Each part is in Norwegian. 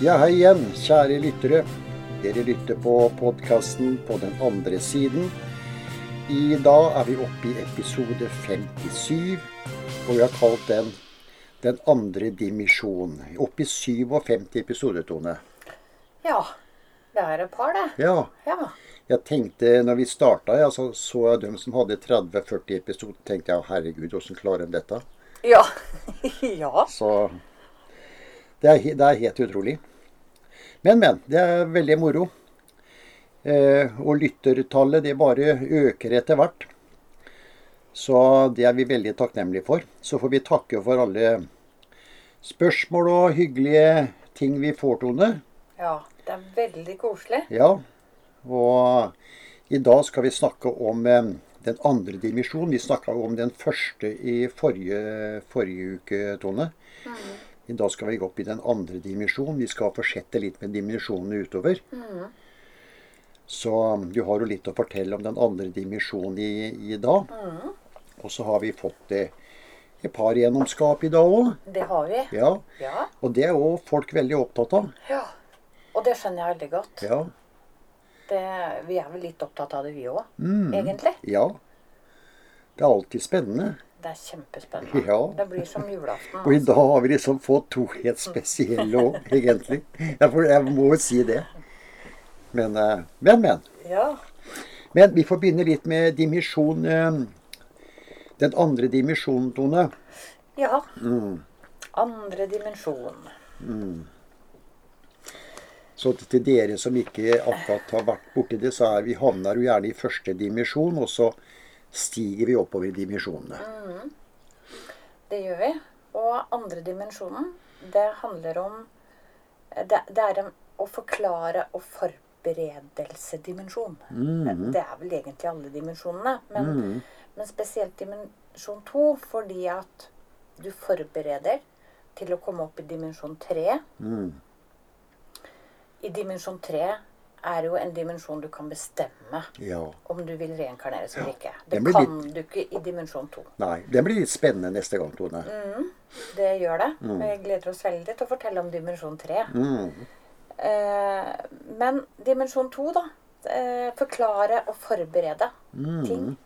Ja, hei igjen, kjære lyttere. Dere lytter på podkasten På den andre siden. I dag er vi oppe i episode 57, og vi har kalt den Den andre dimensjon. Oppe i 57 episoder, Tone. Ja. Det er et par, det. Ja, Ja. jeg tenkte når vi starta, ja, så, så jeg dem som hadde 30-40 episoder, tenkte jeg herregud, åssen klarer de dette? Ja. ja. Så det er, he- det er helt utrolig. Men, men. Det er veldig moro. Eh, og lyttertallet det bare øker etter hvert. Så det er vi veldig takknemlige for. Så får vi takke for alle spørsmål og hyggelige ting vi får, Tone. Ja. Det er veldig koselig. Ja. Og i dag skal vi snakke om eh, den andre dimensjonen. Vi snakka om den første i forrige, forrige uke, Tone. I dag skal vi gå opp i den andre dimensjonen. Vi skal fortsette litt med dimensjonene utover. Så um, du har jo litt å fortelle om den andre dimensjonen i, i dag. Og så har vi fått eh, et par gjennomskap i dag òg. Det har vi. Ja. Ja. Og det er jo folk veldig opptatt av. ja. Og det skjønner jeg veldig godt. Ja. Det, vi er vel litt opptatt av det, vi òg. Mm. Egentlig. ja. Det er alltid spennende. Det er kjempespennende. Ja. Det blir som julaften. Og i dag har vi liksom fått to helt spesielle òg, egentlig. Jeg, får, jeg må jo si det. Men, eh, men, men. Ja. Men vi får begynne litt med dimensjon eh, Den andre dimensjonen, Tone. ja. Mm. Andre dimensjon. Så til- til dere som ikke akkurat har vært borti det, så er vi havner jo gjerne i første dimensjon, og så stiger vi oppover i dimensjonene. Det gjør vi. Og andre dimensjonen, det handler om Det, det er en å forklare og forberedelsedimensjon. Mm. Det er vel egentlig alle dimensjonene, men, men spesielt dimensjon to fordi at du forbereder til å komme opp i dimensjon tre. Mm. I dimensjon tre er jo en dimensjon du kan bestemme Ja. om du vil reinkarneres eller ikke. Det den blir kan du ikke i dimensjon to. Nei. Den blir litt spennende neste gang, Tone. Det gjør det. og Jeg gleder oss veldig til å fortelle om dimensjon 3. Eh, men dimensjon 2, da. Eh, forklare og forberede ting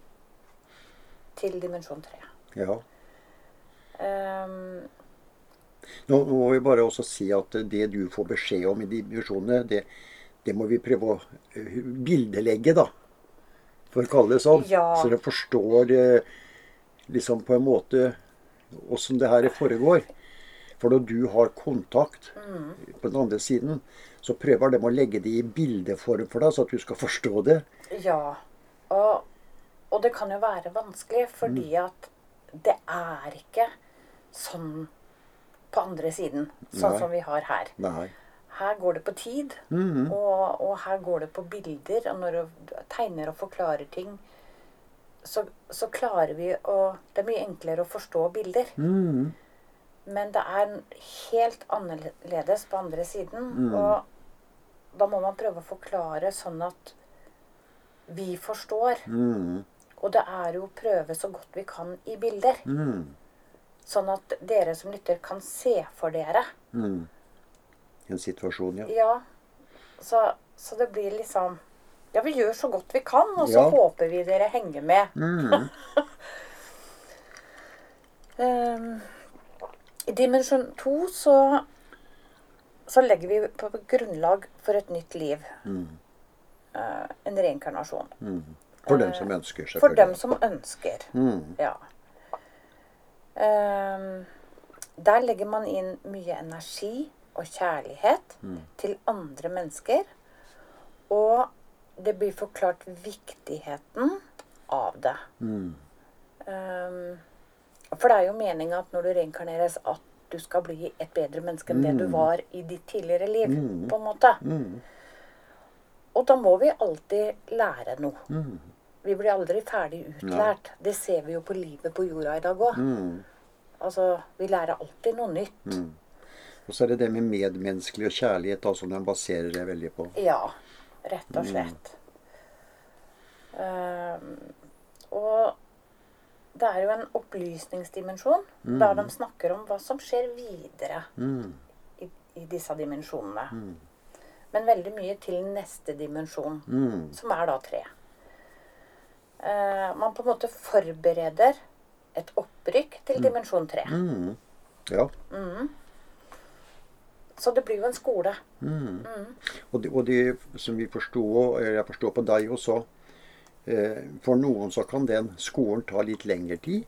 til dimensjon 3. Ja. Eh, Nå nå må vi bare også si at det du får beskjed om i dimensjonene, det, det må vi prøve å eh, bildelegge, da. For å kalle det sånn. Ja. Så dere forstår eh, liksom på en måte åssen det her foregår. For når du har kontakt Mm. på den andre siden, så prøver de å legge det i bildeform for deg, så at du skal forstå det. ja. Og, og det kan jo være vanskelig, fordi at det er ikke sånn på andre siden. Sånn Nei. som vi har her. Nei. Her går det på tid, og, og her går det på bilder. Og når du tegner og forklarer ting, så, så klarer vi å Det er mye enklere å forstå bilder. Men det er helt annerledes på andre siden. Og da må man prøve å forklare sånn at vi forstår. Og det er jo å prøve så godt vi kan i bilder. Sånn at dere som lytter, kan se for dere. En situasjon, ja. Ja, så, så det blir liksom Ja, vi gjør så godt vi kan, og så Ja. Mm. håper vi dere henger med. Ehm, I dimensjon to så, så legger vi på grunnlag for et nytt liv. Mm. Eh, en reinkarnasjon. For dem som ønsker, selvfølgelig. Eh, For dem som ønsker. Ja. Ehm, der legger man inn mye energi og kjærlighet til andre mennesker. Og det blir forklart viktigheten av det. Ehm, for det er jo meninga at når du reinkarneres, at du skal bli et bedre menneske enn det du var i ditt tidligere liv. på en måte. Og da må vi alltid lære noe. Vi blir aldri ferdig utlært. Det ser vi jo på livet på jorda i dag òg. Altså, vi lærer alltid noe nytt. Og så er det det med medmenneskelig og kjærlighet da, som de baserer det veldig på. Ja, rett og slett. Eh, og det er jo en opplysningsdimensjon der de snakker om hva som skjer videre i, i i disse dimensjonene. Men veldig mye til neste dimensjon, som er da tre. Eh, man på en måte forbereder et opprykk til dimensjon tre. Ja. Så det blir jo en skole. Og det, og det som vi forstod, eller jeg forstår på deg også eh, For noen så kan den skolen ta litt lengre tid,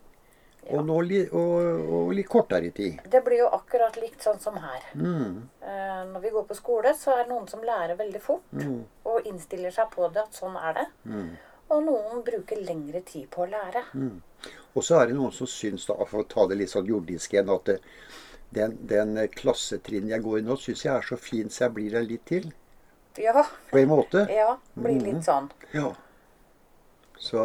og, nå li, og, og litt kortere tid. Det blir jo akkurat likt sånn som her. Mm. Eh, når vi går på skole, så er det noen som lærer veldig fort Mm. og innstiller seg på det at sånn er det. Og noen bruker lengre tid på å lære. Mm. Og så er det noen som syns, da, for å ta det litt sånn jordisk igjen, at det- den, den klassetrinnen jeg går i nå, syns jeg er så fin, så jeg blir der litt til. Ja, På en måte. ja, Mm. blir litt sånn. Ja. Så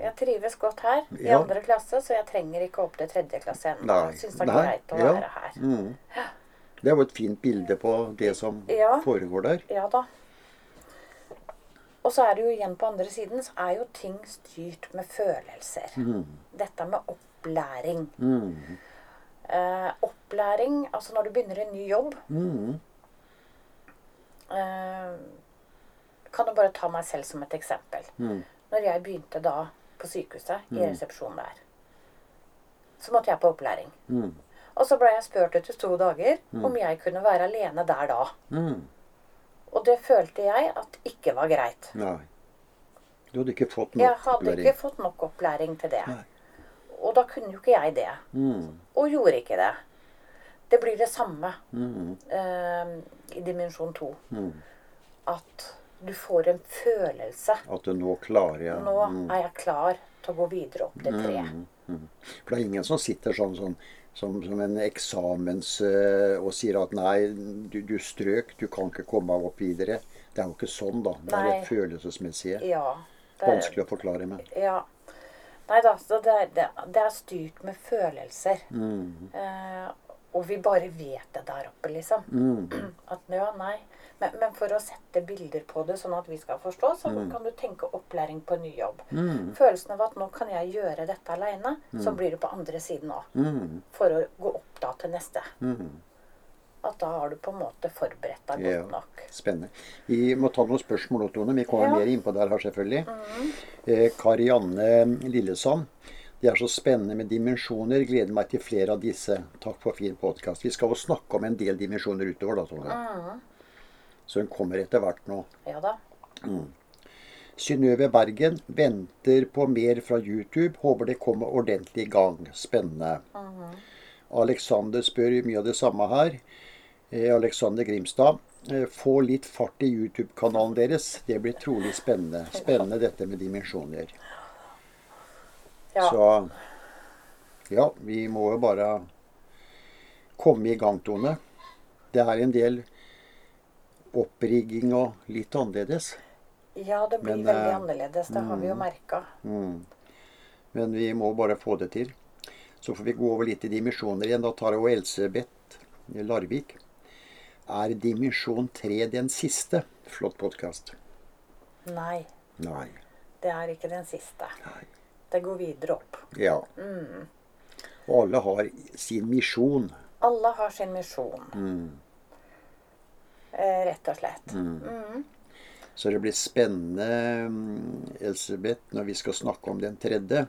Jeg trives godt her i Ja. andre klasse, så jeg trenger ikke opp til tredje klasse ennå. Nei. Jeg syns det er Nei. greit å Ja. være her. det er jo et fint bilde på det som Ja. foregår der. Ja da. Og så er det jo igjen på andre siden, så er jo ting styrt med følelser. Dette med opplæring. Eh, opplæring, altså når du begynner i en ny jobb eh, Kan du bare ta meg selv som et eksempel. Når jeg begynte da på sykehuset, i resepsjonen der, så måtte jeg på opplæring. Og så ble jeg spurt etter to dager om jeg kunne være alene der da. Og det følte jeg at ikke var greit. Nei. Du hadde ikke fått noe Jeg hadde ikke fått nok opplæring til det. Og da kunne jo ikke jeg det. Og gjorde ikke det. Det blir det samme eh, i dimensjon to. At du får en følelse. At du nå klarer jeg Nå er jeg klar til å gå videre opp til tre. For det er ingen som sitter sånn, sånn som, som en eksamens øh, og sier at nei, du, du strøk, du kan ikke komme opp videre. Det er jo ikke sånn, da. Det er Nei. det følelsesmessige. Ja. Det er, Vanskelig å forklare med. ja. Nei da, så det, er- det, det er styrt med følelser. Mm. Eh, og vi bare vet det der oppe, liksom. Mm. At ja, nei. Men, men for å sette bilder på det, sånn at vi skal forstå, så Mm. kan du tenke opplæring på en ny jobb. Følelsen av at nå kan jeg gjøre dette aleine, Mm. så blir det på andre siden òg. For å gå opp da til neste. At da har du på en måte forberedt deg godt Mm. Ja, nok. Spennende. Vi må ta noen spørsmål, nå, Tone. Vi kommer Ja. Mhm. mer innpå der her, selvfølgelig. Eh, Karianne Lillesand. Det er så spennende med dimensjoner. Gleder meg til flere av disse. Takk for fin podkast. Vi skal jo snakke om en del dimensjoner utover, da, Tone. Mhm. Så hun kommer etter hvert nå. Ja da. Synnøve Bergen venter på mer fra YouTube. Håper det kommer ordentlig i gang. Spennende. Alexander spør mye av det samme her. Eh, Alexander Grimstad. eh, Få litt fart i YouTube-kanalen deres. Det blir trolig spennende. Spennende dette med dimensjoner. Ja. Så ja, vi må jo bare komme i gang, Tone. Det er en del opprigging og litt annerledes. Ja, det blir Men, veldig eh, annerledes. Det har vi jo merka. Men vi må bare få det til. Så får vi gå over litt i dimensjoner igjen. Da tar jeg og Elsebeth Larvik. Er dimensjon 3 den siste? Flott podkast. Nei, Nei. det er ikke den siste. Nei. Det går videre opp. Ja. Og alle har sin misjon. Alle har sin misjon. Eh, rett og slett. Så det blir spennende, mm, Elsebeth, når vi skal snakke om den tredje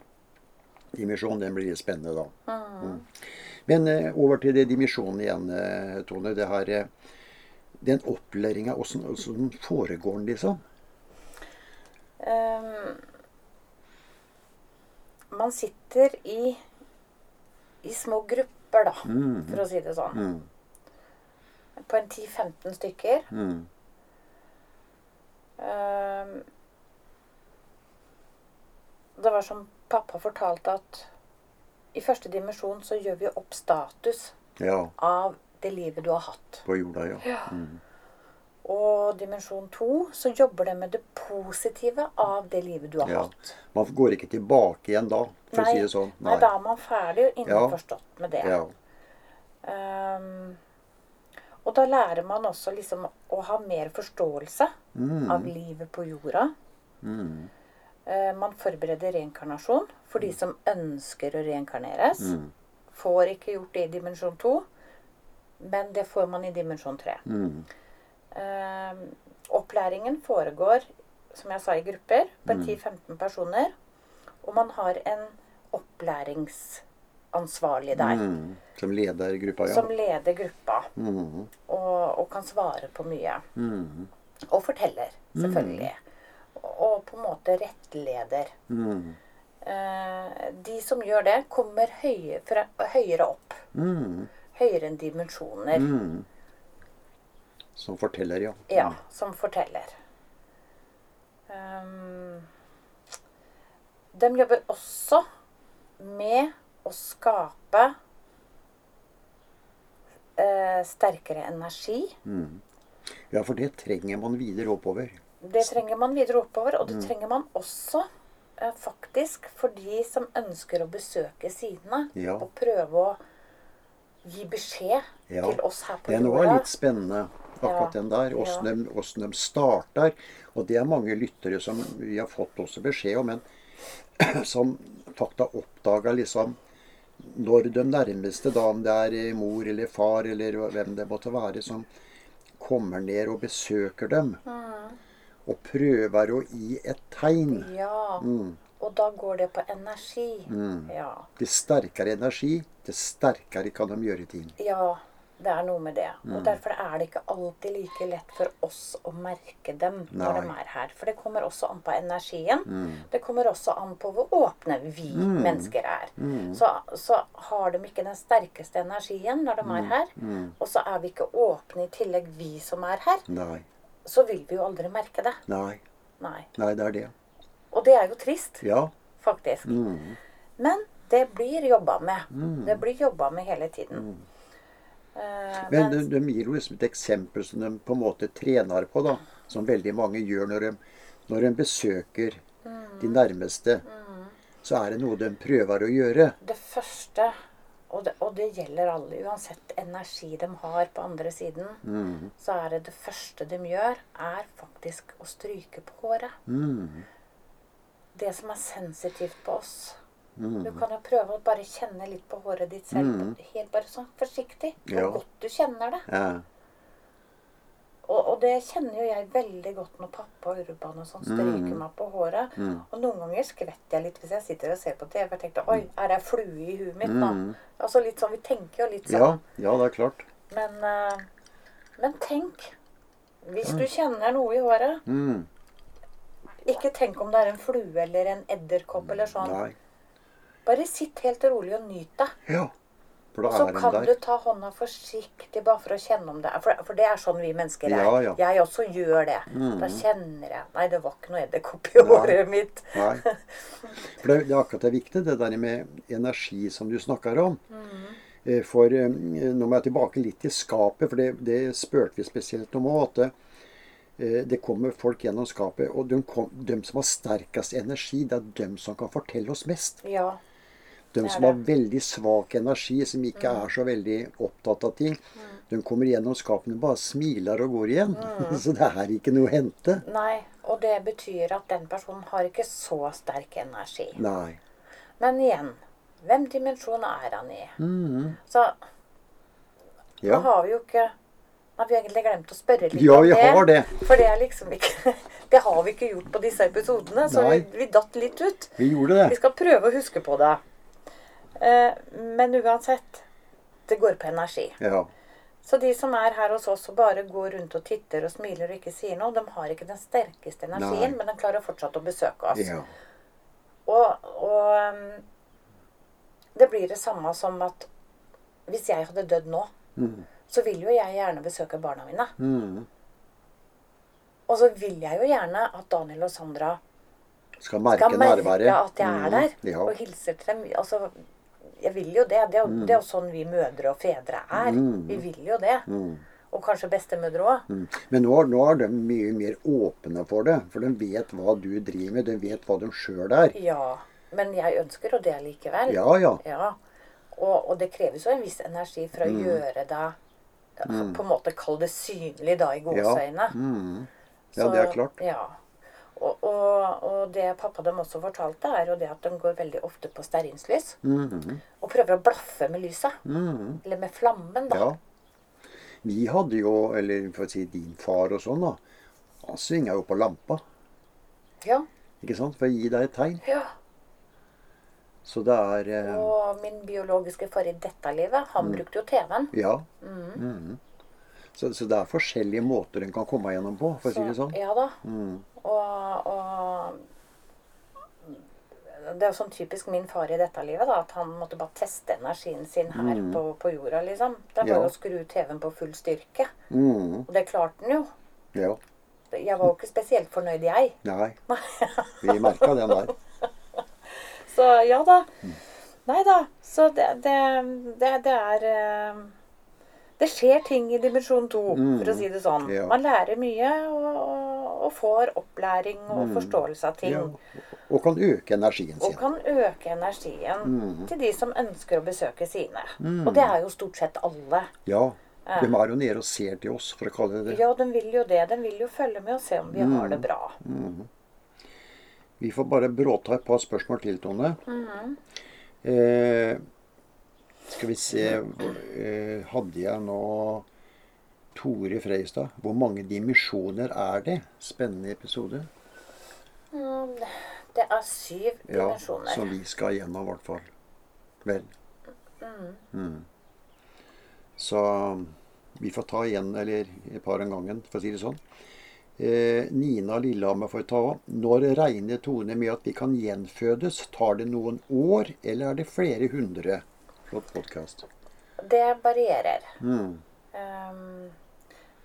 dimensjonen. Den blir litt spennende da. Ah. Mm. Men eh, over til det dimensjonen igjen, eh, Tone. Det her, eh, den opplæringa, åssen åssen foregår den, liksom? Ehm, man sitter i, i små grupper, da, for å si det sånn. På en 10-15 stykker. Ehm, det var som pappa fortalte at i første dimensjon så gjør vi opp status Ja, av det livet du har hatt. på jorda, ja. Mm. Og dimensjon to, så jobber det med det positive av det livet du har ja. hatt. Man går ikke tilbake igjen da, for å si det sånn. nei, da er man ferdig innforstått med det. Ja. Ehm, og da lærer man også liksom å ha mer forståelse av livet på jorda. Eh, man forbereder reinkarnasjon for de som ønsker å reinkarneres. Får ikke gjort det i dimensjon to. Men det får man i dimensjon tre. Eh, opplæringen foregår, som jeg sa, i grupper på 10-15 personer. Og man har en opplæringsansvarlig der Mm. Som leder i gruppa, ja. som leder gruppa. Og, og kan svare på mye. Og forteller, selvfølgelig. Og på en måte rettleder. Eh, de som gjør det, kommer høye, fra, høyere opp. Høyere enn dimensjoner. Som forteller, ja. Mm. Ja, som forteller. Ehm, de jobber også med å skape eh, sterkere energi. Ja, for det trenger man videre oppover. Det trenger man videre oppover, og det Mm. trenger man også eh, faktisk for de som ønsker å besøke sidene Ja. og prøve å gi beskjed Ja. til oss her på Den var litt spennende, akkurat Ja. den der. Åssen de, hvordan de starter. Og det er mange lyttere som vi har fått også beskjed om, men som fakta oppdaga liksom når de nærmeste, da om det er eh, mor eller far eller hvem det måtte være, som kommer ned og besøker dem. Og prøver å gi et tegn Ja. Mm. Og da går det på energi. Ja. til sterkere energi, til sterkere kan de gjøre ting. Ja, det er noe med det. Mm. Og derfor er det ikke alltid like lett for oss å merke dem når de Nei. Mm. er her. For det kommer også an på energien. Det kommer også an på hvor åpne vi mennesker er. Mm. Så, så har de ikke den sterkeste energien når de Mm. er her. Og så er vi ikke åpne i tillegg, vi som er her. Nei. Så vil vi jo aldri merke det. Nei. Nei. Nei, det er det. Og det er jo trist, Ja. faktisk. Mm. Men det blir jobba med. Det blir jobba med hele tiden. Eh, Mm. Men de, de gir jo liksom et eksempel som de på en måte trener på, da. Som veldig mange gjør når de, når de besøker Mm. de nærmeste. Så er det noe de prøver å gjøre. Det første, og det, og det gjelder alle, uansett energi de har på andre siden, så er det det første de gjør, er faktisk å stryke på håret. Det som er sensitivt på oss. Du kan jo prøve å bare kjenne litt på håret ditt selv. Helt bare sånn forsiktig. Hvor Ja. godt du kjenner det. Ja. Og, og det kjenner jo jeg veldig godt når pappa og Urban og sånn stryker Mm. meg på håret. Og noen ganger skvetter jeg litt hvis jeg sitter og ser på TV og tenker Oi, er det ei flue i huet mitt, da? Altså litt sånn, Vi tenker jo litt Mm. Ja, sånn. ja, det er klart. Men, eh, men tenk Mm. Hvis du kjenner noe i håret Ikke tenk om det er en flue eller en edderkopp eller sånn. Nei. Bare sitt helt rolig og nyt det. Ja. For Så da er kan de du der. ta hånda forsiktig bare for å kjenne om det er For, for det er sånn vi mennesker er. Ja, ja. Mm. Jeg også gjør det. Da kjenner jeg Nei, det var ikke noe edderkopp i håret mitt. Nei. For det, er- det er akkurat det viktige, det der med energi som du snakker om. Eh, For eh, nå må jeg tilbake litt til skapet, for det, det spurte vi spesielt om òg. At det, eh, det kommer folk gjennom skapet, og de, kom, dem som har sterkest energi, det er dem som kan fortelle oss mest. Ja. De er som har veldig svak energi, som ikke er så veldig opptatt av ting, de kommer gjennom skapene bare smiler og går igjen. Så det er ikke noe å hente. Nei. Og det betyr at den personen har ikke så sterk energi. Nei. Men igjen Hvem dimensjon er han i? Mm. Så Ja. nå har vi jo ikke Har vi egentlig glemt å spørre litt Ja, vi har det. For det er liksom ikke Det har vi ikke gjort på disse episodene, så vi, Nei. vi datt litt ut. Vi gjorde Vi det. skal prøve å huske på det. Eh, Men uansett det går på energi. Ja. Så de som er her hos oss og bare går rundt og titter og smiler og ikke sier noe, de har ikke den sterkeste energien, Nei. men de klarer fortsatt å besøke oss. ja. Og, og um, det blir det samme som at hvis jeg hadde dødd nå, Mm. så vil jo jeg gjerne besøke barna mine. Og så vil jeg jo gjerne at Daniel og Sandra Skal merke skal nærværet. merke at jeg er Mhm. der, Ja. og hilser til dem. Altså, jeg vil jo det. Det er, jo- Mm. det er jo sånn vi mødre og fedre er. Vi vil jo det. Mm. Og kanskje bestemødre òg. Men nå, nå er de mye mer åpne for det. For de vet hva du driver med. De vet hva de sjøl er. Ja. Men jeg ønsker jo det likevel. Ja, ja. Ja. Og, og det kreves jo en viss energi for å Mm. gjøre deg På en måte kall det synlig, da, i gåseøyne. Ja, det er klart. Ja. Og, og, og det pappa dem også fortalte, er jo det at de går veldig ofte på Mm-hmm. stearinslys. Og prøver å blaffe med lyset. Eller med flammen, da. Ja. Vi hadde jo, eller for å si din far og sånn, da. Han svinga jo på lampa, Ja. ikke sant? For å gi deg et tegn. ja. Så det er eh, Og min biologiske far i dette livet, han Mm. brukte jo TV-en. Ja. Mm. Mhm. Så, så det er forskjellige måter en kan komme gjennom på, for å si det sånn. Ja da. Og, og Det er jo sånn typisk min far i dette livet, da, at han måtte bare teste energien sin her på, på jorda, liksom. Det var Mm. Ja. jo å skru TV-en på full styrke. Mhm. Og det klarte han jo. Ja. Jeg var jo ikke spesielt fornøyd, jeg. Nei. Vi merka den der. Så ja da. Mm. Nei da. Så det, det, det, det er eh, Det skjer ting i dimensjon to, for å si det sånn. Mm. Ja. Man lærer mye og, og, og får opplæring og forståelse av ting. Mm. Ja. Og kan øke energien Og sin. kan øke energien Mm. til de som ønsker å besøke sine. Og det er jo stort sett alle. Ja. De er jo nede og ser til oss, for å kalle det det. Ja, de vil jo det. De vil jo følge med og se om vi har Mm. det bra. Vi får bare bråta et par spørsmål til, Tone. eh, skal vi se eh, Hadde jeg nå Tore Freistad. Hvor mange dimensjoner er det? Spennende episode. Mm. Det er syv Ja, dimensjoner. som vi skal gjennom, i hvert fall. Vel. Mm. Så mm, vi får ta igjen, eller et par om gangen, for å si det sånn. Eh, Nina Lillehammer får ta av. Når regner Tone med at vi kan gjenfødes? Tar det noen år, eller er det flere hundre? Flott podkast. Det varierer. Mm. Ehm,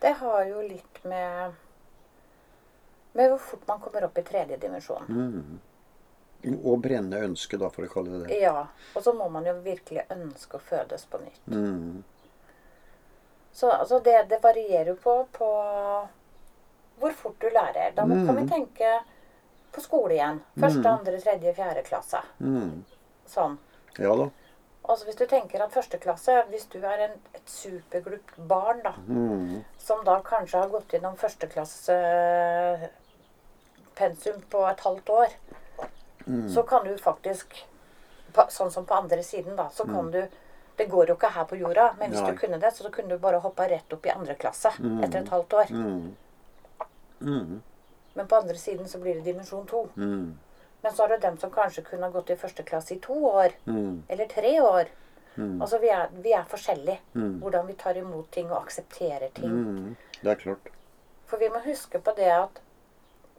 det har jo litt med med hvor fort man kommer opp i tredje dimensjon. Mm. Og brenne ønsket, da, for å kalle det det. Ja, Og så må man jo virkelig ønske å fødes på nytt. Mm. Så altså, det, det varierer jo på, på hvor fort du lærer. Da må, kan Mm. vi tenke på skole igjen. Første, andre, tredje, fjerde klasse. Mm. Sånn. Ja da. Altså Hvis du tenker at første klasse, hvis du er en, et superglupt barn da, Mm. som da kanskje har gått gjennom førsteklasse pensum på et halvt år, så kan du faktisk på- Sånn som på andre siden, da, så kan du Det går jo ikke her på jorda, men hvis Nei. du kunne det, så da kunne du bare hoppa rett opp i andre klasse etter et halvt år. Men på andre siden så blir det dimensjon to. Men så har du dem som kanskje kunne ha gått i første klasse i to år. Eller tre år. Altså vi er, vi er forskjellige. Hvordan vi tar imot ting og aksepterer ting. Mm. Det er klart. For vi må huske på det at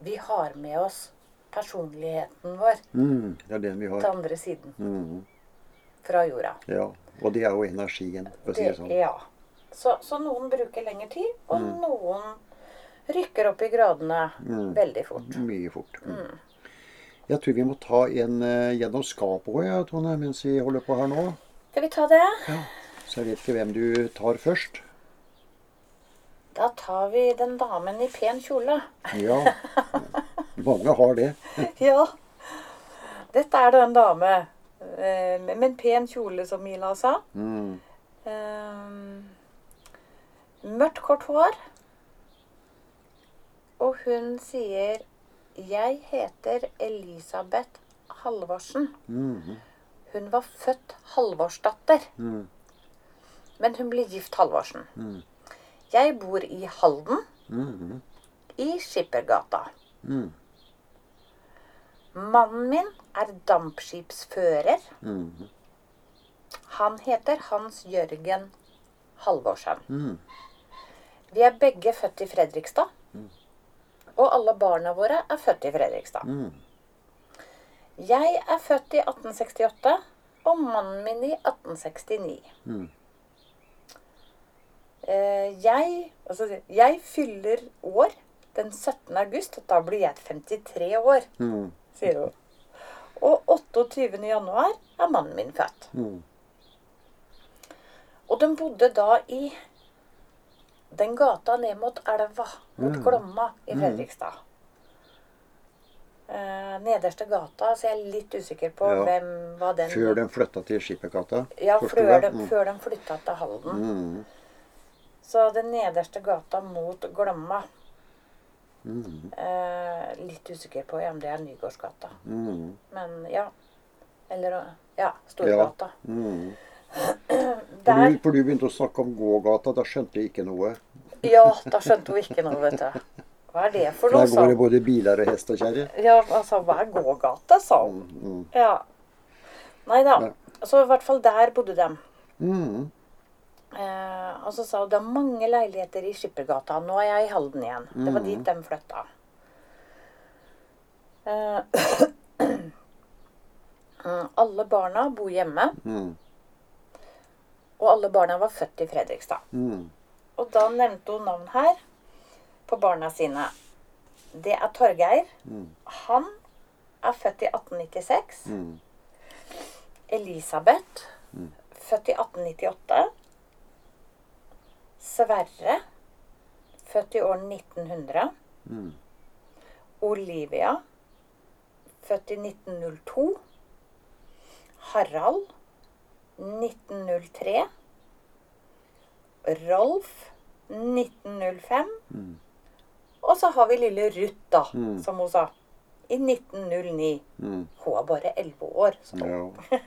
vi har med oss personligheten vår Mm. Det er den vi til har. andre siden. Mm. Fra jorda. Ja. Og det er jo energien, for å si det sånn. Mm. ja. Så, så noen bruker lengre tid, og noen rykker opp i gradene veldig fort. Mye fort. Mm. Mm. Jeg tror vi må ta en eh, gjennom skapet òg, ja, Tone, mens vi holder på her nå. Skal vi ta det? Så jeg vet ikke hvem du tar først. Da tar vi den damen i pen kjole. Ja, mange har det. Ja. Dette er da en dame eh, med en pen kjole, som Mila sa. Mm. Eh, mørkt, kort hår. Og hun sier 'Jeg heter Elisabeth Halvorsen'. Mhm. Hun var født Halvorsdatter, Mm. men hun ble gift Halvorsen. Jeg bor i Halden, Mhm. i Skippergata. Mm. Mannen min er dampskipsfører. Mhm. Han heter Hans Jørgen Halvorsen. Mm. Vi er begge født i Fredrikstad. Og alle barna våre er født i Fredrikstad. Mm. Jeg er født i 1868, og mannen min i 1869. Mm. Eh, Jeg, altså, jeg fyller år den 17. august, og da blir jeg 53 år, Mm. sier hun. Og 28. januar er mannen min født. Mm. Og de bodde da i den gata ned mot elva, mot Mm. Glomma i Fredrikstad. Eh, nederste gata, så jeg er litt usikker på Ja. hvem var den Før den flytta til Skippergata. Ja, forsto før de, jeg. Mm. før de flytta til Halden. Mm. Så den nederste gata mot Glomma. Eh, litt usikker på ja, om det er Nygårdsgata. Mm. Men ja. Eller ja, Storgata. Mm. For der du, for du begynte å snakke om gågata, da skjønte jeg ikke noe. Ja, da skjønte hun ikke noe, vet du. Hva er det For for noe, der sa går det hun. både biler og hest og kjerre. Ja, altså, hva er gågata, sa hun. Mm. Ja. Nei da. Ja. Så i hvert fall der bodde de. Mm. Eh, og så sa hun det er mange leiligheter i Skippergata. Nå er jeg i Halden igjen. Det var Mm. dit de flytta. Eh, mm, alle barna bor hjemme, Mm. og alle barna var født i Fredrikstad. Mm. Og da nevnte hun navn her på barna sine. Det er Torgeir. Han er født i 1896. Mm. Elisabeth, født i 1898. Sverre, født i år 1900. Mm. Olivia, født i 1902. Harald, 1903. Rolf 1905. Mm. Og så har vi lille Ruth, da, som hun sa. I 1909. Mm. Hun er bare 11 år. Så Ja.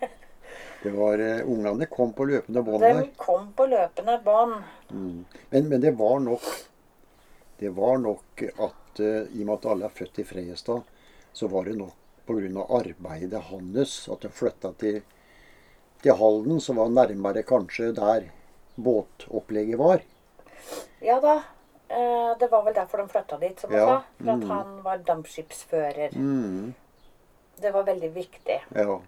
Det var, eh, Ungene kom på løpende bånd der. den kom på løpende bånd. Men, men det var nok Det var nok at eh, i og med at alle er født i Freiestad, så var det nok pga. arbeidet hans at han flytta til, til Halden, som var nærmere kanskje der båtopplegget var. Ja da. eh, Det var vel derfor de flytta dit, som hun Ja. Mm. sa. For at han var dampskipsfører. Det var veldig viktig. Ja.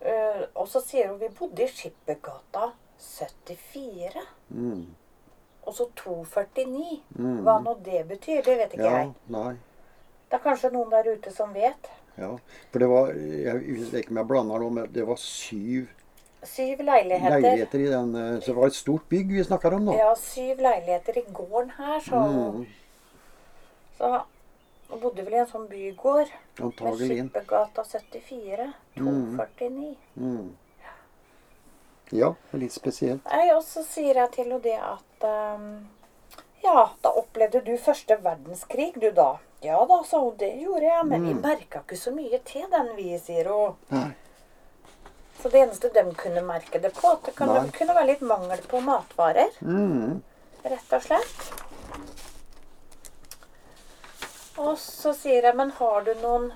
Eh, og så sier hun vi bodde i Skippergata 74. Mm. Og så 249. Hva nå det betyr, Mm, det vet ikke ja jeg. nei. Det er kanskje noen der ute som vet. Ja. For det var Jeg vet ikke om jeg blander nå, men det var syv Syv leiligheter. leiligheter i den eh, Så det var et stort bygg vi snakker om nå. Ja, syv leiligheter i gården her, sa hun. Mm. Så hun bodde vel i en sånn bygård. Med Antagelig. Skippergata 74. Mm. 249. Ja, litt spesielt. Nei, og så sier jeg til henne det at ehm, Ja, da opplevde du første verdenskrig, du da. Ja da, sa hun. Det gjorde jeg. Men vi merka ikke så mye til den, vi, sier hun. Mm. Nei. Så det eneste de kunne merke det på, at det kan, Nei. kunne være litt mangel på matvarer. Mm, Rett og slett. Og så sier jeg, men har du noen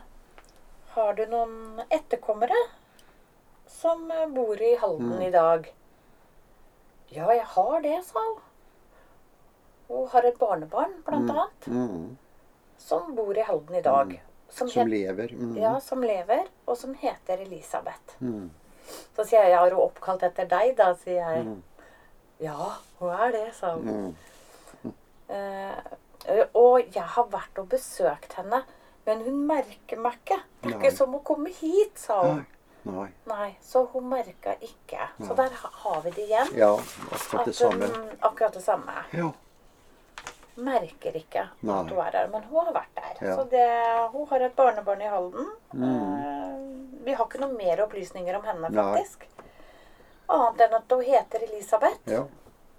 Har du noen etterkommere som eh, bor i Halden i dag? Ja, jeg har det, sa hun. Hun har et barnebarn, blant annet, Mm. som bor i Halden i dag. Som, Som het- lever. Mm. Sånn ja, som lever, og som heter Elisabeth. Så sier jeg, jeg har hun oppkalt etter deg, da, sier jeg. Mm. Ja, hun er det, sa hun. Mm. Eh, og jeg har vært og besøkt henne, men hun merker meg ikke. Det er Nei. ikke som å komme hit, sa hun. Nei. Nei. Nei, så hun merka ikke. Så der ha- har vi det igjen. Ja, akkurat det At samme. hun- akkurat det samme. Ja. Merker ikke Nei. at hun er her, men hun har vært der. Ja. Mm. Så det, hun har et barnebarn i Halden. Eh, vi har ikke noe mer opplysninger om henne, Nei. faktisk. Annet enn at hun heter Elisabeth ja.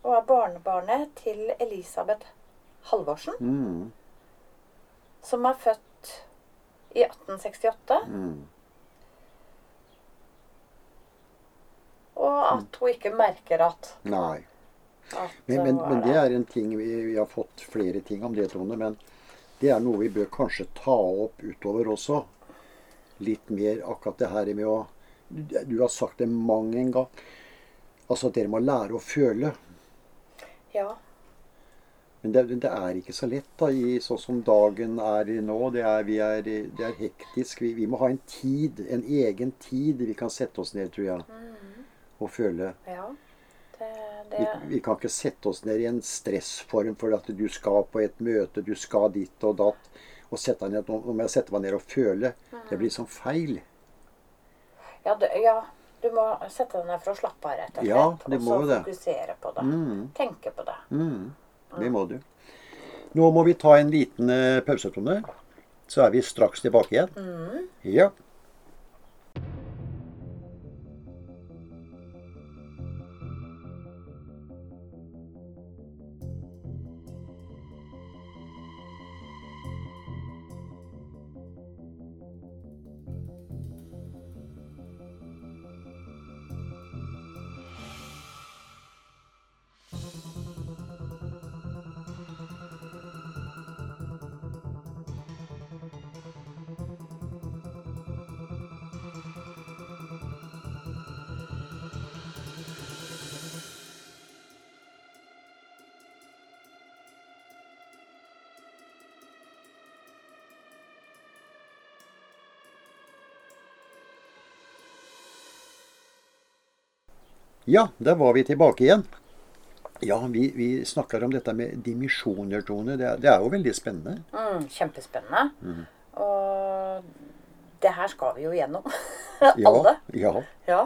og er barnebarnet til Elisabeth Halvorsen, Mm. som er født i 1868. Mm. Og at hun ikke merker at, Nei. at Men, men, hun men det der. er en ting vi, vi har fått flere ting om det, Tone. Men det er noe vi bør kanskje ta opp utover også. Litt mer akkurat det her med å Du har sagt det mang en gang. Altså at dere må lære å føle. Ja. Men det, det er ikke så lett da, i sånn som dagen er i nå. Det er, vi er, det er hektisk. Vi, vi må ha en tid, en egen tid vi kan sette oss ned, tror jeg. Og føle. ja. Det, Vi, det, vi kan ikke sette oss ned i en stressform for at du skal på et møte, du skal dit og datt. Og sette deg ned, nå nå må jeg sette meg ned og føle. Det blir sånn feil. ja, det, ja. Du må sette deg ned for å slappe av, rett og slett. Ja, du må jo og så det. Mm. fokusere på det. Tenke på det. Det må du. Nå må vi ta en liten eh, pause, Tone. Så er vi straks tilbake igjen. Mm. Ja. Ja, der var vi tilbake igjen. Ja, vi, vi snakker om dette med dimensjoner, Tone. Det er, det er jo veldig spennende. Mm, kjempespennende. Mm. Og det her skal vi jo gjennom. Ja, Alle. ja, Ja.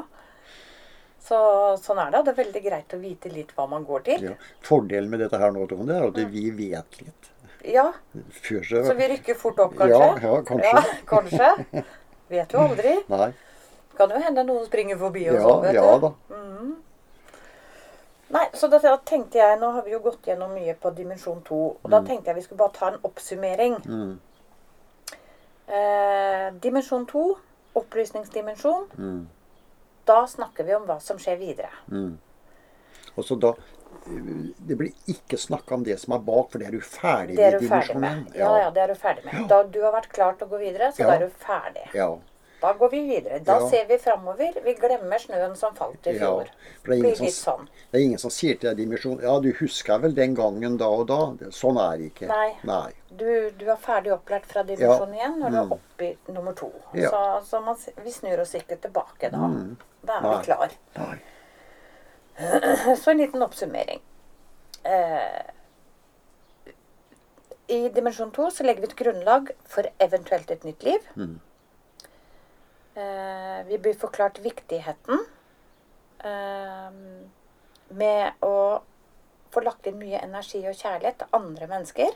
Så sånn er det. og Det er veldig greit å vite litt hva man går til. ja. Fordelen med dette her nå, Tone, er at vi vet litt. Ja, Før så Mm. Så vi rykker fort opp, kanskje? Ja, ja, kanskje. Ja, kanskje. Vet jo aldri. Nei. Kan jo hende noen springer forbi og Ja, sånn, vet ja du. da. Nei, så da tenkte jeg, Nå har vi jo gått gjennom mye på dimensjon to. Og Mm. da tenkte jeg vi skulle bare ta en oppsummering. Eh, dimensjon to, opplysningsdimensjon. Mm. Da snakker vi om hva som skjer videre. Og så da eh, Det blir ikke snakka om det som er bak, for det er du ferdig Det er med du ferdig med. dimensjonen. Ja, ja, det er du ferdig med. Da du har vært klar til å gå videre, så Ja. da er du ferdig. ja. Da går vi videre. Da Ja. ser vi framover. Vi glemmer snøen som falt i Ja, fjor. for det er, Blir ingen litt som, sånn. det er ingen som sier til deg dimensjon Ja, du husker vel den gangen da og da? Det- Sånn er det ikke. Nei. Du, du er ferdig opplært fra dimensjon Ja. Mm. igjen når du er oppe i nummer to. Ja. Mm. Så, så man, s- vi snur oss ikke tilbake da. Da er Nei. vi klar. Nei. Så en liten oppsummering. Eh, I dimensjon to så legger vi et grunnlag for eventuelt et nytt liv. Eh, vi blir forklart viktigheten eh, med å få lagt inn mye energi og kjærlighet til andre mennesker.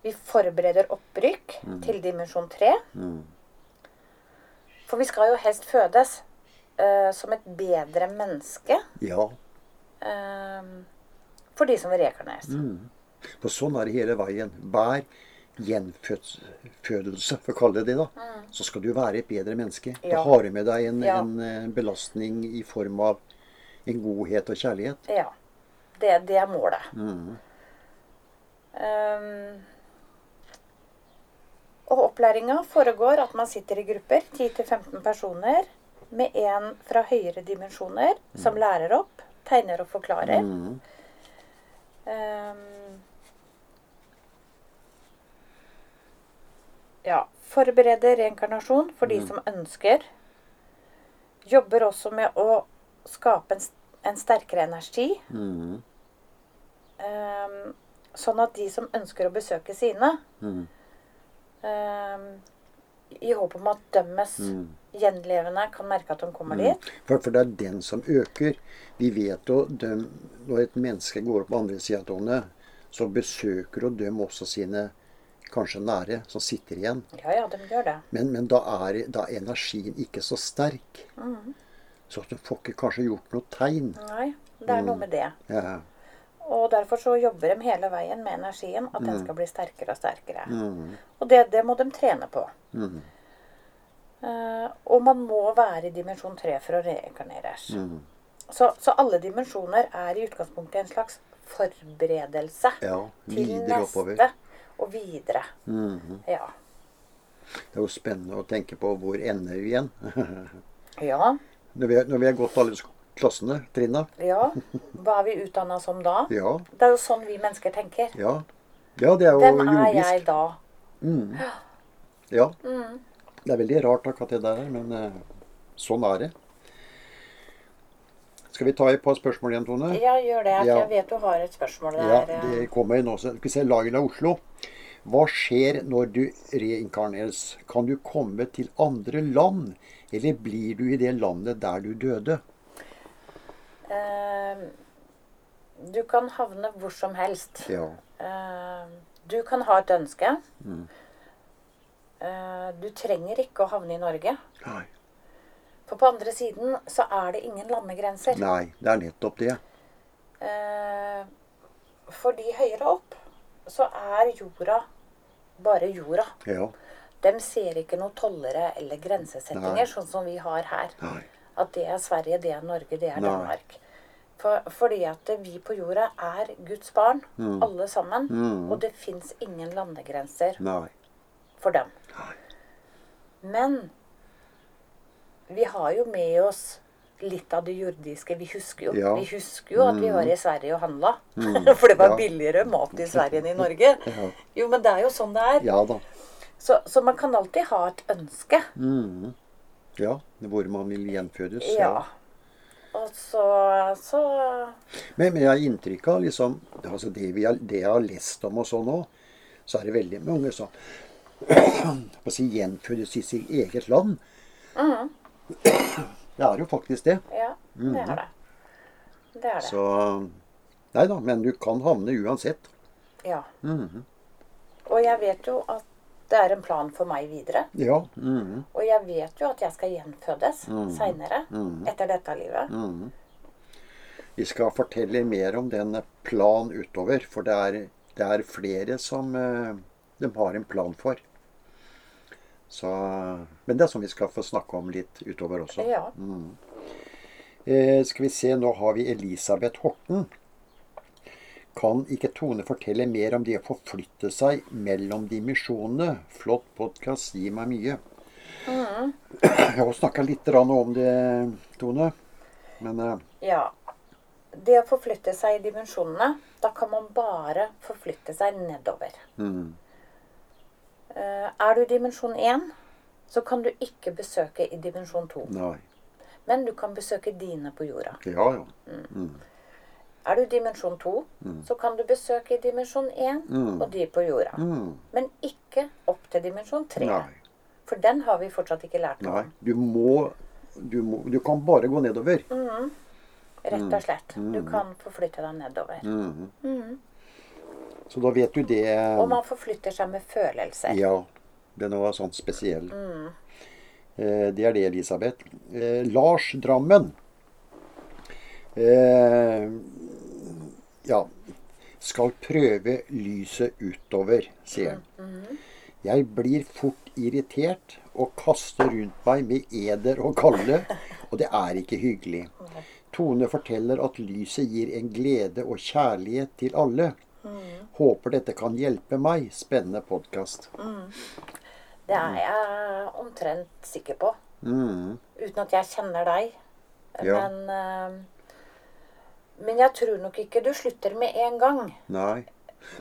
Vi forbereder opprykk til dimensjon tre. For vi skal jo helst fødes eh, som et bedre menneske. Ja. Ehm, for de som rekarnes. For sånn er det hele veien. Hver gjenfødelse, for å kalle det det, da, så skal du være et bedre menneske. Da Mm. Ja. har du med deg en, Ja. en eh, belastning i form av en godhet og kjærlighet. Ja. Det, det er målet. Ehm, og opplæringa foregår at man sitter i grupper, 10-15 personer, med en fra høyere dimensjoner som lærer opp, tegner og forklarer. Ehm, ja. Forberede reinkarnasjon for de som ønsker. Jobber også med å skape en, s- en sterkere energi. Ehm, sånn at de som ønsker å besøke sine, ehm, i håp om at dømmes gjenlevende kan merke at de kommer dit. For, for det er den som øker. Vi vet jo dem, når et menneske går opp på andre sida av tårnet, så besøker og døm også sine kanskje nære som sitter igjen. Ja, ja, de gjør det. Men, men da, er, da er energien ikke så sterk. Mm. Så at du får ikke kanskje gjort noe tegn. Nei, det er noe med det. Ja. Og derfor så jobber de hele veien med energien, at Mm. den skal bli sterkere og sterkere. Og det, det må de trene på. Mm. Eh, og man må være i dimensjon tre for å reinkarneres. Mm. Så, så alle dimensjoner er i utgangspunktet en slags forberedelse Ja, til videre neste oppover. Mm. og videre. Ja. Det er jo spennende å tenke på hvor ender vi igjen. ja. Når vi, når vi har gått alle sko- klassene, trinna. Ja. Hva er vi utdanna som da? Ja, Det er jo sånn vi mennesker tenker. ja. Ja, det er jo Hvem er jordisk. jeg da? Ja. Det er veldig rart akkurat det der, men eh, sånn er det. Skal vi ta et par spørsmål igjen, Tone? Ja, gjør det. Ja. Jeg vet du har et spørsmål der. Ja, eh. det kommer inn også. Skal vi se, Laila Oslo. Hva skjer når du reinkarneres? Kan du komme til andre land, eller blir du i det landet der du døde? Eh, Du kan havne hvor som helst. Ja. Eh, Du kan ha et ønske. Eh, Du trenger ikke å havne i Norge. Nei. For på andre siden så er det ingen landegrenser. Nei, det er nettopp det. Eh, Fordi høyere opp så er jorda bare jorda. Ja. De ser ikke noe tollere eller grensesettinger, sånn som vi har her. Nei. At det er Sverige, det er Norge, det er Nei. Danmark. For, fordi at vi på jorda er Guds barn, Mm. alle sammen. Og det fins ingen landegrenser Nei. for dem. Nei. Men vi har jo med oss litt av det jordiske. Vi husker jo, Ja. Mm. vi husker jo at vi var i Sverige og handla. For det Ja. var billigere mat i Sverige enn i Norge. Jo, men det er jo sånn det er. Ja da. Så, så man kan alltid ha et ønske. Mm. Ja, hvor man vil gjenfødes. Ja. Og så, så Men, men jeg har inntrykk av liksom, altså det, vi har, det jeg har lest om og sånn nå, så er det veldig mange som på å si, gjenfødes i sitt eget land. Det er jo faktisk det. Ja, det er det. Det er det. Så Nei da, men du kan havne uansett. Ja. Og jeg vet jo at det er en plan for meg videre. Ja. mhm, Og jeg vet jo at jeg skal gjenfødes seinere, etter dette livet. Vi skal fortelle mer om den planen utover, for det er, det er flere som eh, de har en plan for. Så, men det er som vi skal få snakke om litt utover også. Ja. Eh, skal vi se, nå har vi Elisabeth Horten. Kan ikke Tone fortelle mer om det å forflytte seg mellom dimensjonene? Flott podkast, gi meg mye. Jeg har snakka litt grann om det, Tone. Men eh, ja. Det å forflytte seg i dimensjonene, da kan man bare forflytte seg nedover. Eh, Er du i dimensjon 1, så kan du ikke besøke i dimensjon 2. nei. Men du kan besøke dine på jorda. Ja, ja. Er du i dimensjon 2, Mm. så kan du besøke i dimensjon 1 og de på jorda. Men ikke opp til dimensjon 3. Mm. Nei. For den har vi fortsatt ikke lært nei. om, Du må Du, må, du kan bare gå nedover. rett Mm. og slett. Du kan forflytte deg nedover. Så da vet du det. Og man forflytter seg med følelser. Ja, den var sånn spesiell. Eh, det er det, Elisabeth. Eh, Lars Drammen. Eh, ja. Skal prøve lyset utover, sier han. Jeg blir fort irritert og kaster rundt meg med eder og galle, og det er ikke hyggelig. Tone forteller at lyset gir en glede og kjærlighet til alle. Håper dette kan hjelpe meg. Spennende podkast. Det er jeg omtrent sikker på. Uten at jeg kjenner deg. Mm. Ja. Men, eh, men jeg tror nok ikke du slutter med en gang. Nei.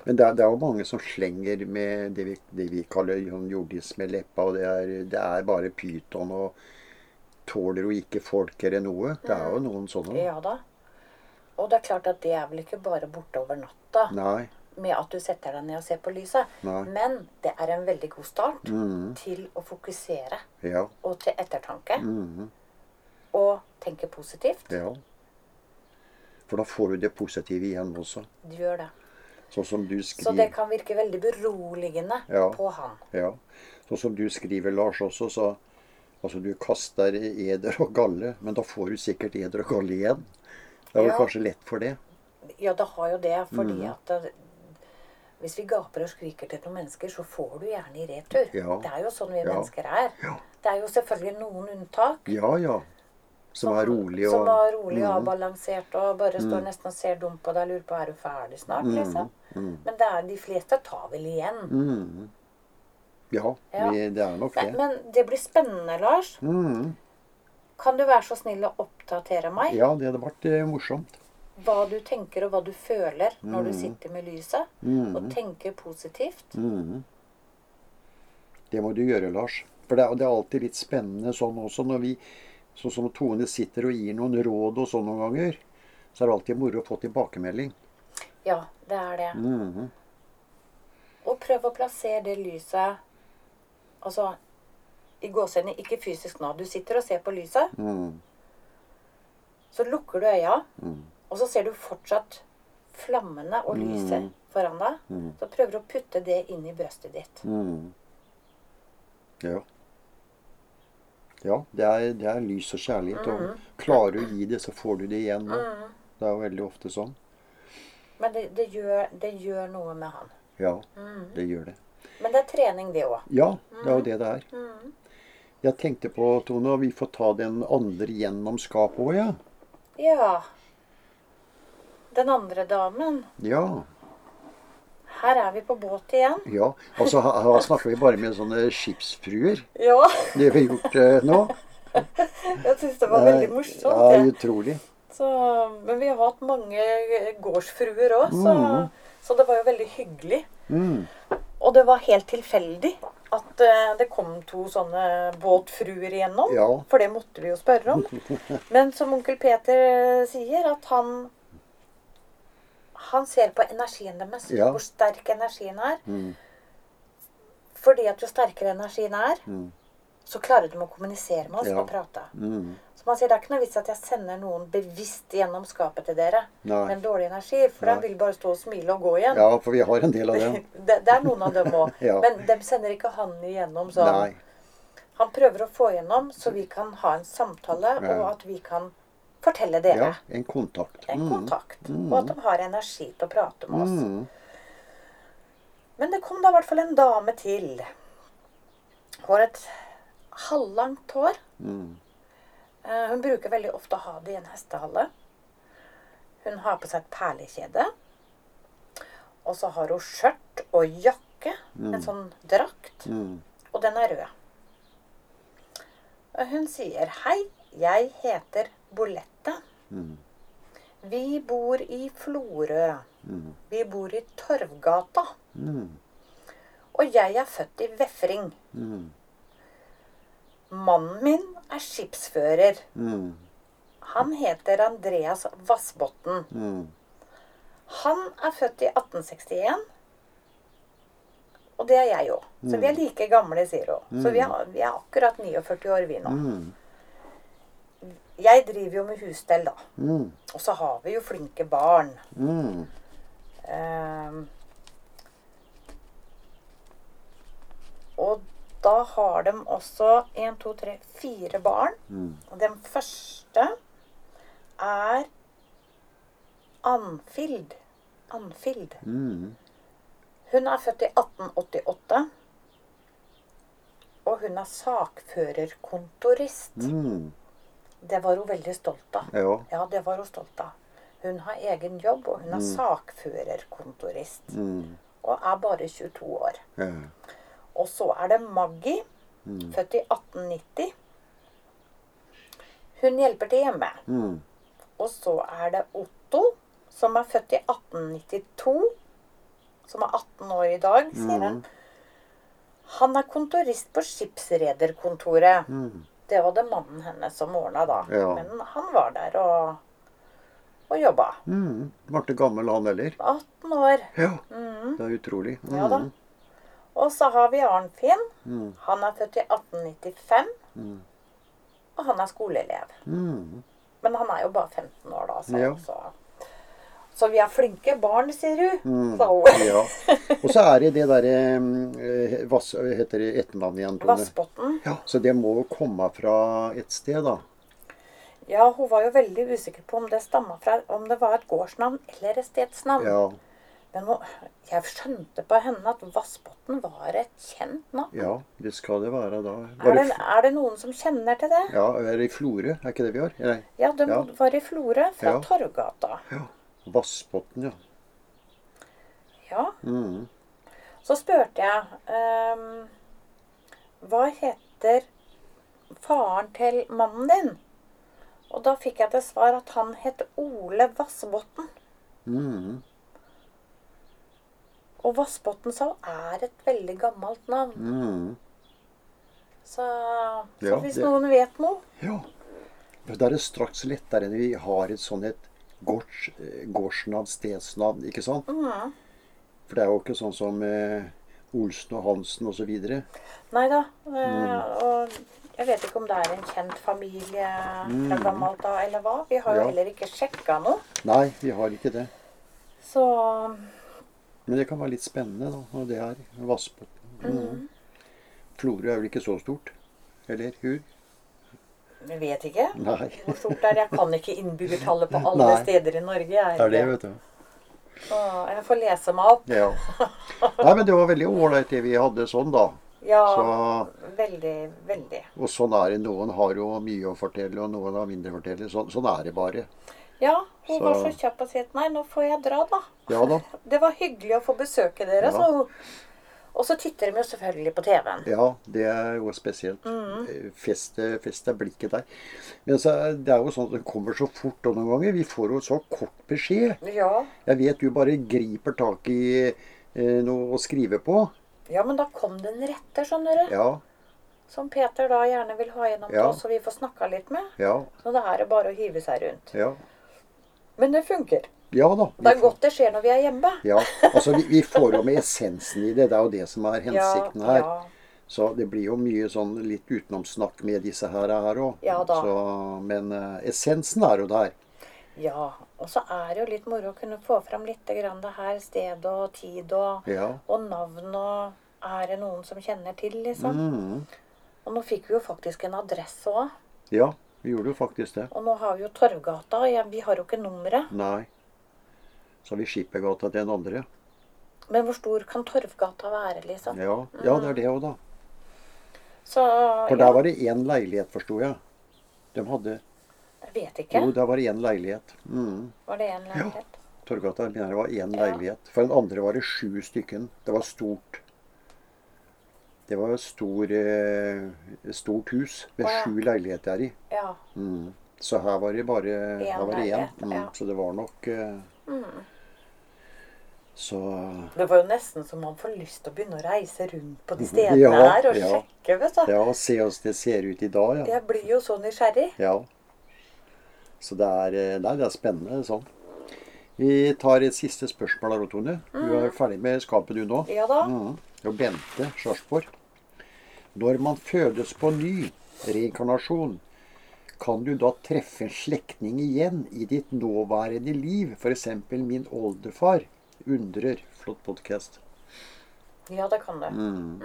Men det er, det er jo mange som slenger med det vi, det vi kaller sånn jordis med leppa, og det er, det er bare pyton og tåler jo ikke folk eller noe. Det er jo noen sånne. Ja da. Og det er klart at det er vel ikke bare borte over natta Nei. med at du setter deg ned og ser på lyset. Nei. Mm. Men det er en veldig god start til å fokusere Ja. og til ettertanke. Mm. Og tenke positivt. Ja. For da får du det positive igjen også. Du gjør det. Sånn som du Så det skriver. kan virke veldig beroligende Ja. på han. Ja. Sånn som du skriver, Lars, også, så Altså, du kaster eder og galle, men da får du sikkert eder og galle igjen. Det er vel Ja. kanskje lett for det. Ja, det har jo det, fordi Mm. at det, hvis vi gaper og skriker til noen mennesker, så får du gjerne i retur. Ja. Det er jo sånn vi Ja. mennesker er. Ja. Det er jo selvfølgelig noen unntak. Ja, ja. Som er rolig og Mm. Som var rolig og avbalansert og bare står nesten og ser dum på deg og lurer på er du ferdig snart, Mm. liksom. Men det er, de fleste tar vel igjen. Ja, Ja. Vi, det er nok Nei, det. men det blir spennende, Lars. Kan du være så snill å oppdatere meg? Mm. Ja, det hadde vært eh, morsomt. Hva du tenker og hva du føler når Mm. du sitter med lyset, og tenker positivt. Det må du gjøre, Lars. For det er, det er alltid litt spennende sånn også når vi Sånn som Tone sitter og gir noen råd og sånn noen ganger, så er det alltid moro å få tilbakemelding. Ja, det er det. Og prøv å plassere det lyset Altså i gåsehendene, ikke fysisk nå. Du sitter og ser på lyset. Så lukker du øya, og så ser du fortsatt flammene og lyset foran deg. Så prøver du å putte det inn i brøstet ditt. Ja. Ja, det er, det er lys og kjærlighet. Mhm. Og klarer du å gi det, så får du det igjen. og Det er jo veldig ofte sånn. Men det, det, gjør, det gjør noe med han. Ja, Mhm. det gjør det. Men det er trening, det òg. Ja, det er jo det det er. Jeg tenkte på, Tone, at vi får ta den andre gjennom skapet òg, ja. Ja. Den andre damen. Ja. Her er vi på båt igjen. ja. Altså, her, her snakker vi bare med sånne skipsfruer. Ja. Det vi har gjort eh, nå. Eh, Jeg syns det var veldig morsomt. Ja, jeg. utrolig. Så, men vi har hatt mange gårdsfruer Mm. òg, så, så det var jo veldig hyggelig. Og det var helt tilfeldig at eh, det kom to sånne båtfruer igjennom. Ja. For det måtte vi jo spørre om. Men som onkel Peter eh, sier, at han Han ser på energien deres. Ja. Hvor sterk energien er. Mm. Fordi at jo sterkere energien er, Mm. så klarer de å kommunisere med oss Ja. og prate. Mm. Så man sier det er ikke noe vits at jeg sender noen bevisst gjennom skapet til dere Nei. med en dårlig energi, for Nei. de vil bare stå og smile og gå igjen. Ja, for vi har en del av dem. det, det er noen av dem òg. Ja. Men de sender ikke han igjennom sånn. Nei. Han prøver å få igjennom, så vi kan ha en samtale, og Ja. at vi kan fortelle dere Ja, en kontakt. en Mm. kontakt. Og at de har energi til å prate med oss. Mm. Men det kom da i hvert fall en dame til. Hun har et halvlangt hår. Mm. Eh, Hun bruker veldig ofte å ha det i en hestehale. Hun har på seg et perlekjede. Og så har hun skjørt og jakke, en sånn drakt, Mm. og den er rød. Og hun sier 'Hei, jeg heter Bolette. Mm. Vi bor i Florø. Vi bor i Torvgata. Mm. Og jeg er født i Vefring. Mm. Mannen min er skipsfører. Mm. Han heter Andreas Vassbotn. Mm. Han er født i 1861. Og det er jeg òg. Så vi er Mm. like gamle, sier hun. Så vi er, vi er akkurat 49 år, vi nå. Mm. Jeg driver jo med husstell, da. Mm. Og så har vi jo flinke barn. Mm. Ehm. og da har de også én, to, tre, fire barn. Mm. Og den første er Anfild. Anfild. Mm. Hun er født i 1888. Og hun er sakførerkontorist. Mm. Det var hun veldig stolt av. Ja. Ja, det var hun stolt av. Hun har egen jobb, og hun er sakførerkontorist. Mm. Og er bare 22 år. Ja. Og så er det Maggie, Mm. født i 1890. Hun hjelper til hjemme. Mm. Og så er det Otto, som er født i 1892. Som er 18 år i dag, sier Mm. han. Han er kontorist på skipsrederkontoret. Det var det mannen hennes som ordna da. Mm. Ja. Men han var der og, og jobba. Mm. Ble ikke gammel han heller. 18 år. Ja. Det er utrolig. Mm. Ja da. Og så har vi Arnfinn. Han er født i 1895. Og han er skoleelev. Mm. Men han er jo bare 15 år da, så, Ja. så. så vi er flinke barn, sier hun. Mm. Sa hun. Ja. Og så er det det derre Hva heter det etternavnet igjen? Tone? Vassbotn. Ja, så det må jo komme fra et sted, da. Ja, hun var jo veldig usikker på om det stamma fra om det var et gårdsnavn eller et stedsnavn. Ja. Men hun, jeg skjønte på henne at Vassbotn var et kjent navn. ja det skal det være da. Var Er det, det, Fl- er det noen som kjenner til det? ja, er det i Florø? Er ikke det vi har? Nei. Ja, de Ja. var i Florø, fra Ja. Torvgata. Ja. Vassbotn, ja. Ja. Mm. Så spurte jeg ehm, Hva heter faren til mannen din? Og da fikk jeg til svar at han het Ole Vassbotn. Mm. Og Vassbotn sa er et veldig gammelt navn. Mm. Så, så Ja, hvis det- noen vet noe Ja. For Da er det straks lettere når vi har et sånn et gårds, eh, gårdsnavn, stedsnavn, ikke sant? For det er jo ikke sånn som eh, Olsen og Hansen osv. Nei da. Mm. eh, Og jeg vet ikke om det er en kjent familie fra gammelt av, eller hva. Vi har jo Mm. Ja. heller ikke sjekka noe. Nei, vi har ikke det. Så Men det kan være litt spennende, da, når det er Vassbotn. Mm. Florø er vel ikke så stort? Eller hur? jeg vet ikke Nei. hvor stort det er. Jeg kan ikke innbyggertallet på alle Nei. steder i Norge. Jeg, Det er det, vet du. Så jeg får lese meg opp. Ja. Nei, men det var veldig ålreit det vi hadde sånn, da. Ja, Så veldig, veldig. Og sånn er det. Noen har jo mye å fortelle, og noen har mindre å fortelle. Sånn, sånn er det bare. Ja, hun Så- var så kjapp og sa at nei, nå får jeg dra, da. Ja da. Det var hyggelig å få besøke dere. Ja. Så hun... Og så titter de jo selvfølgelig på TV-en. Ja, det er jo spesielt. Mm. Eh, Feste, feste blikket der. Men så, er- det er jo sånn at det kommer så fort og noen ganger. Vi får jo så kort beskjed. Ja, Jeg vet du bare griper tak i eh, noe å skrive på. Ja, men da kom det en retter, skjønner du. Ja, Som Peter da gjerne vil ha gjennom Ja. til oss, så vi får snakka litt med. ja, Så det her er bare å hive seg rundt. ja. Men det funker. Ja da. vi Det er får- godt det skjer når vi er hjemme. Ja, altså vi, vi får jo med essensen i det. Det er jo det som er hensikten her. ja. Så det blir jo mye sånn litt utenomsnakk med disse her her òg. Ja da. Men eh, essensen er jo der. Ja, og så er det jo litt moro å kunne få fram litt grann det her sted og tid og, Ja. og navn og Er det noen som kjenner til, liksom? Mhm. Og nå fikk vi jo faktisk en adresse òg. Ja, vi gjorde jo faktisk det. Og nå har vi jo Torvgata. og Ja, vi har jo ikke nummeret. Nei. Så har vi Skippergata til den andre. Men hvor stor kan Torvgata være, liksom? Ja, ja det er det òg, da. Så For der var det én leilighet, forsto jeg. De hadde Jeg vet ikke. Jo, der var det én leilighet. Mhm. Var det én leilighet? Torgata jeg mener det var én leilighet. For den andre var det sju stykken. Det var stort. Det var et stor, eh, stort hus med Å, ja. sju leiligheter i. Ja. Mm. Så her var det bare her var det én. leilighet, Mm. ja. Så det var nok eh, Så Det var jo nesten så man får lyst til å begynne å reise rundt på de stedene Ja, her og ja. sjekke, vet du. Ja, se åssen det ser ut i dag, ja. Jeg blir jo så nysgjerrig. ja. Så det er, eh, nei, det er spennende sånn. Vi tar et siste spørsmål her, Tone. Du er ferdig med skapet du nå? Ja da. Mhm. Og Bente Sjarsborg. Når man fødes på ny, reinkarnasjon, kan du da treffe en slektning igjen i ditt nåværende liv? F.eks. min oldefar. Undrer. Flott podkast. Ja, det kan du. Mm.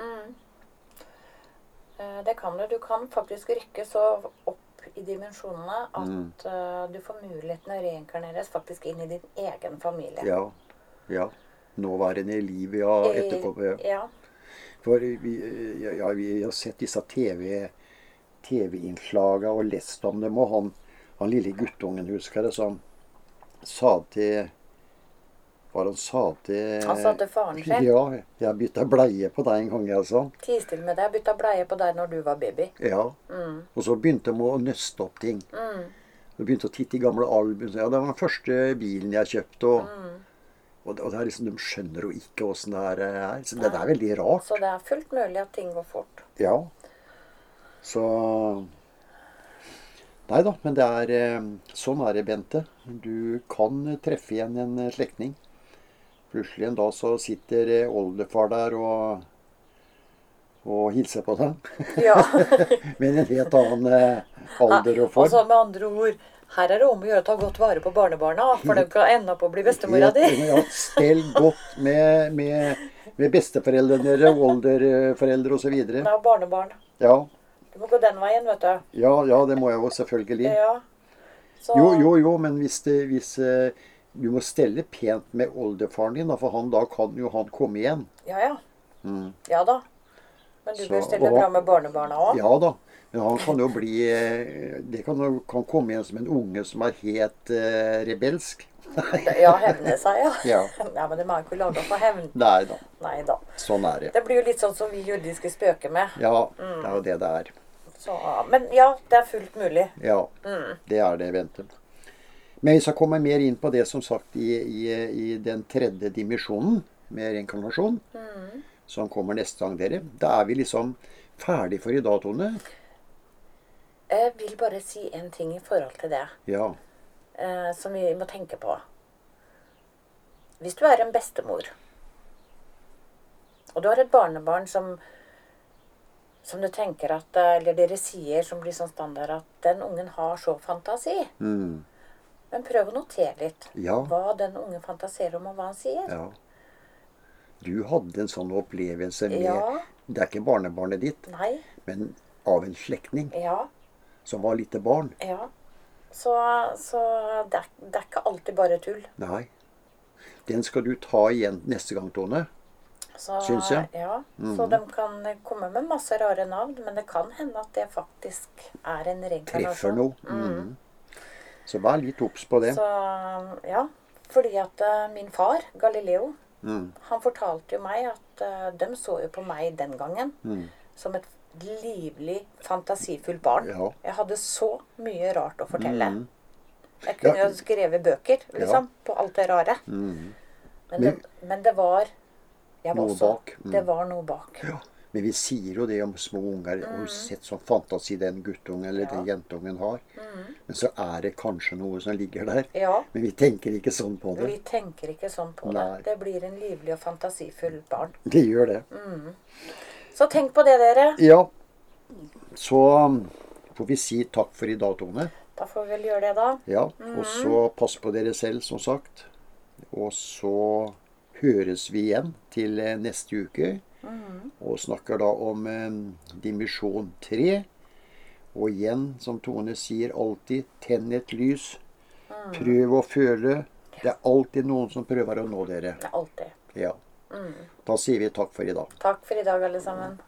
Eh, Det kan du. Du kan faktisk rykke så opp i dimensjonene at Mm. eh, du får muligheten å reinkarneres faktisk inn i din egen familie. Ja. ja. Nåværende liv, ja. I- Etterpå. ja. Ja. For vi, ja, ja, vi har sett disse TV TV-innslagene og lest om dem. Og han, han lille guttungen, husker jeg, det, som sa til Hva var det han sa til Han sa til faren sin Ja, jeg bytta bleie på deg en gang, altså. jeg sa. Tis til med deg, bytta bleie på deg når du var baby. Ja. Mm. Og så begynte de å nøste opp ting. De begynte å titte i gamle album. Ja, det var den første bilen jeg kjøpte. Og, Mm. og, det- og det er liksom, de skjønner jo ikke åssen det her er. Så det, det er veldig rart. Så det er fullt mulig at ting går fort. Ja. Så Nei da, men det er eh, sånn er det, Bente. Du kan treffe igjen en eh, slektning. Plutselig en dag så sitter eh, oldefar der og, og hilser på deg. Ja. Men en helt annen eh, alder og Ah, Og så form. altså, med andre ord her er det om å gjøre å ta godt vare på barnebarna, for de kan ende opp å bli bestemora Helt- di. ja, Stell godt med, med, med besteforeldrene dere, olderforeldre osv. Det er barnebarn. Ja, Du må gå den veien, vet du. ja, ja, det må jeg jo selvfølgelig. Ja. Så, Jo, jo, jo, men hvis, det, hvis eh, du må stelle pent med oldefaren din, da, for han, da kan jo han komme igjen. Ja, ja. Ja da. Men du Mm. Så- bør stelle og hva- bra med barnebarna òg. Ja da. Men han kan jo bli eh, Det kan, jo- kan komme igjen som en unge som er helt eh, rebelsk. Ja. hevne seg, ja. Ja. Nei, men de er jo ikke laga for hevn. Nei da. Nei da. Sånn er det. Mm. Det blir jo litt sånn som vi jordiske spøker med. Ja, det er jo det det er. Så, men ja, det er fullt mulig. Ja, det er det, Bente. Men vi skal komme mer inn på det som sagt i, i, i den tredje dimensjonen med reinkarnasjon, Mm. som kommer neste gang, dere. Da er vi liksom ferdig for i dag, Tone. Jeg vil bare si en ting i forhold til det Ja. eh, som vi må tenke på. Hvis du er en bestemor, og du har et barnebarn som, som du tenker at eh, Eller dere sier som blir sånn standard at 'den ungen har så fantasi'. Mm. Men prøv å notere litt Ja. hva den ungen fantaserer om, og hva han sier. Ja. Du hadde en sånn opplevelse med Ja. Det er ikke barnebarnet ditt, Nei. men av en slektning Ja. som var lite barn. Ja. Så, så det, er, det er ikke alltid bare tull. Nei. Den skal du ta igjen neste gang, Tone. Så, Syns jeg. Mm. Ja, Så de kan komme med masse rare navn, men det kan hende at det faktisk er en Treffer reinkarnasjon. noe. Mhm. Så vær litt obs på det. Mm. Så ja. Fordi at eh, min far, Galileo, Mm. han fortalte jo meg at eh, de så jo på meg den gangen Mm. som et livlig, fantasifullt barn. Ja. Mm. Jeg hadde så mye rart å fortelle. Jeg kunne jo skrevet bøker, liksom, på alt det rare. Men, det, men det var Jeg var Mm. Noe også, bak, mm. Det var noe bak. Ja. Men vi sier jo det om små unger. Mm. Har du sett sånn fantasi den guttungen eller den jentungen har? Men så er det kanskje noe som ligger der. Mm. Ja. Men vi tenker ikke sånn på det. Vi tenker ikke sånn på Nei. det. Det blir en livlig og fantasifull barn. Vi gjør det. Så tenk på det, dere. Ja. Så um, får vi si takk for i dag, Tone. Da får vi vel gjøre det, da. Ja. Og så pass på dere selv, som sagt. Og så høres vi igjen til eh, neste uke. Og snakker da om eh, dimensjon 3. Og igjen, som Tone sier alltid, tenn et lys. Prøv å føle. Det er alltid noen som prøver å nå dere. Det er Alltid. Ja. Da sier vi takk for i dag. Takk for i dag, alle sammen.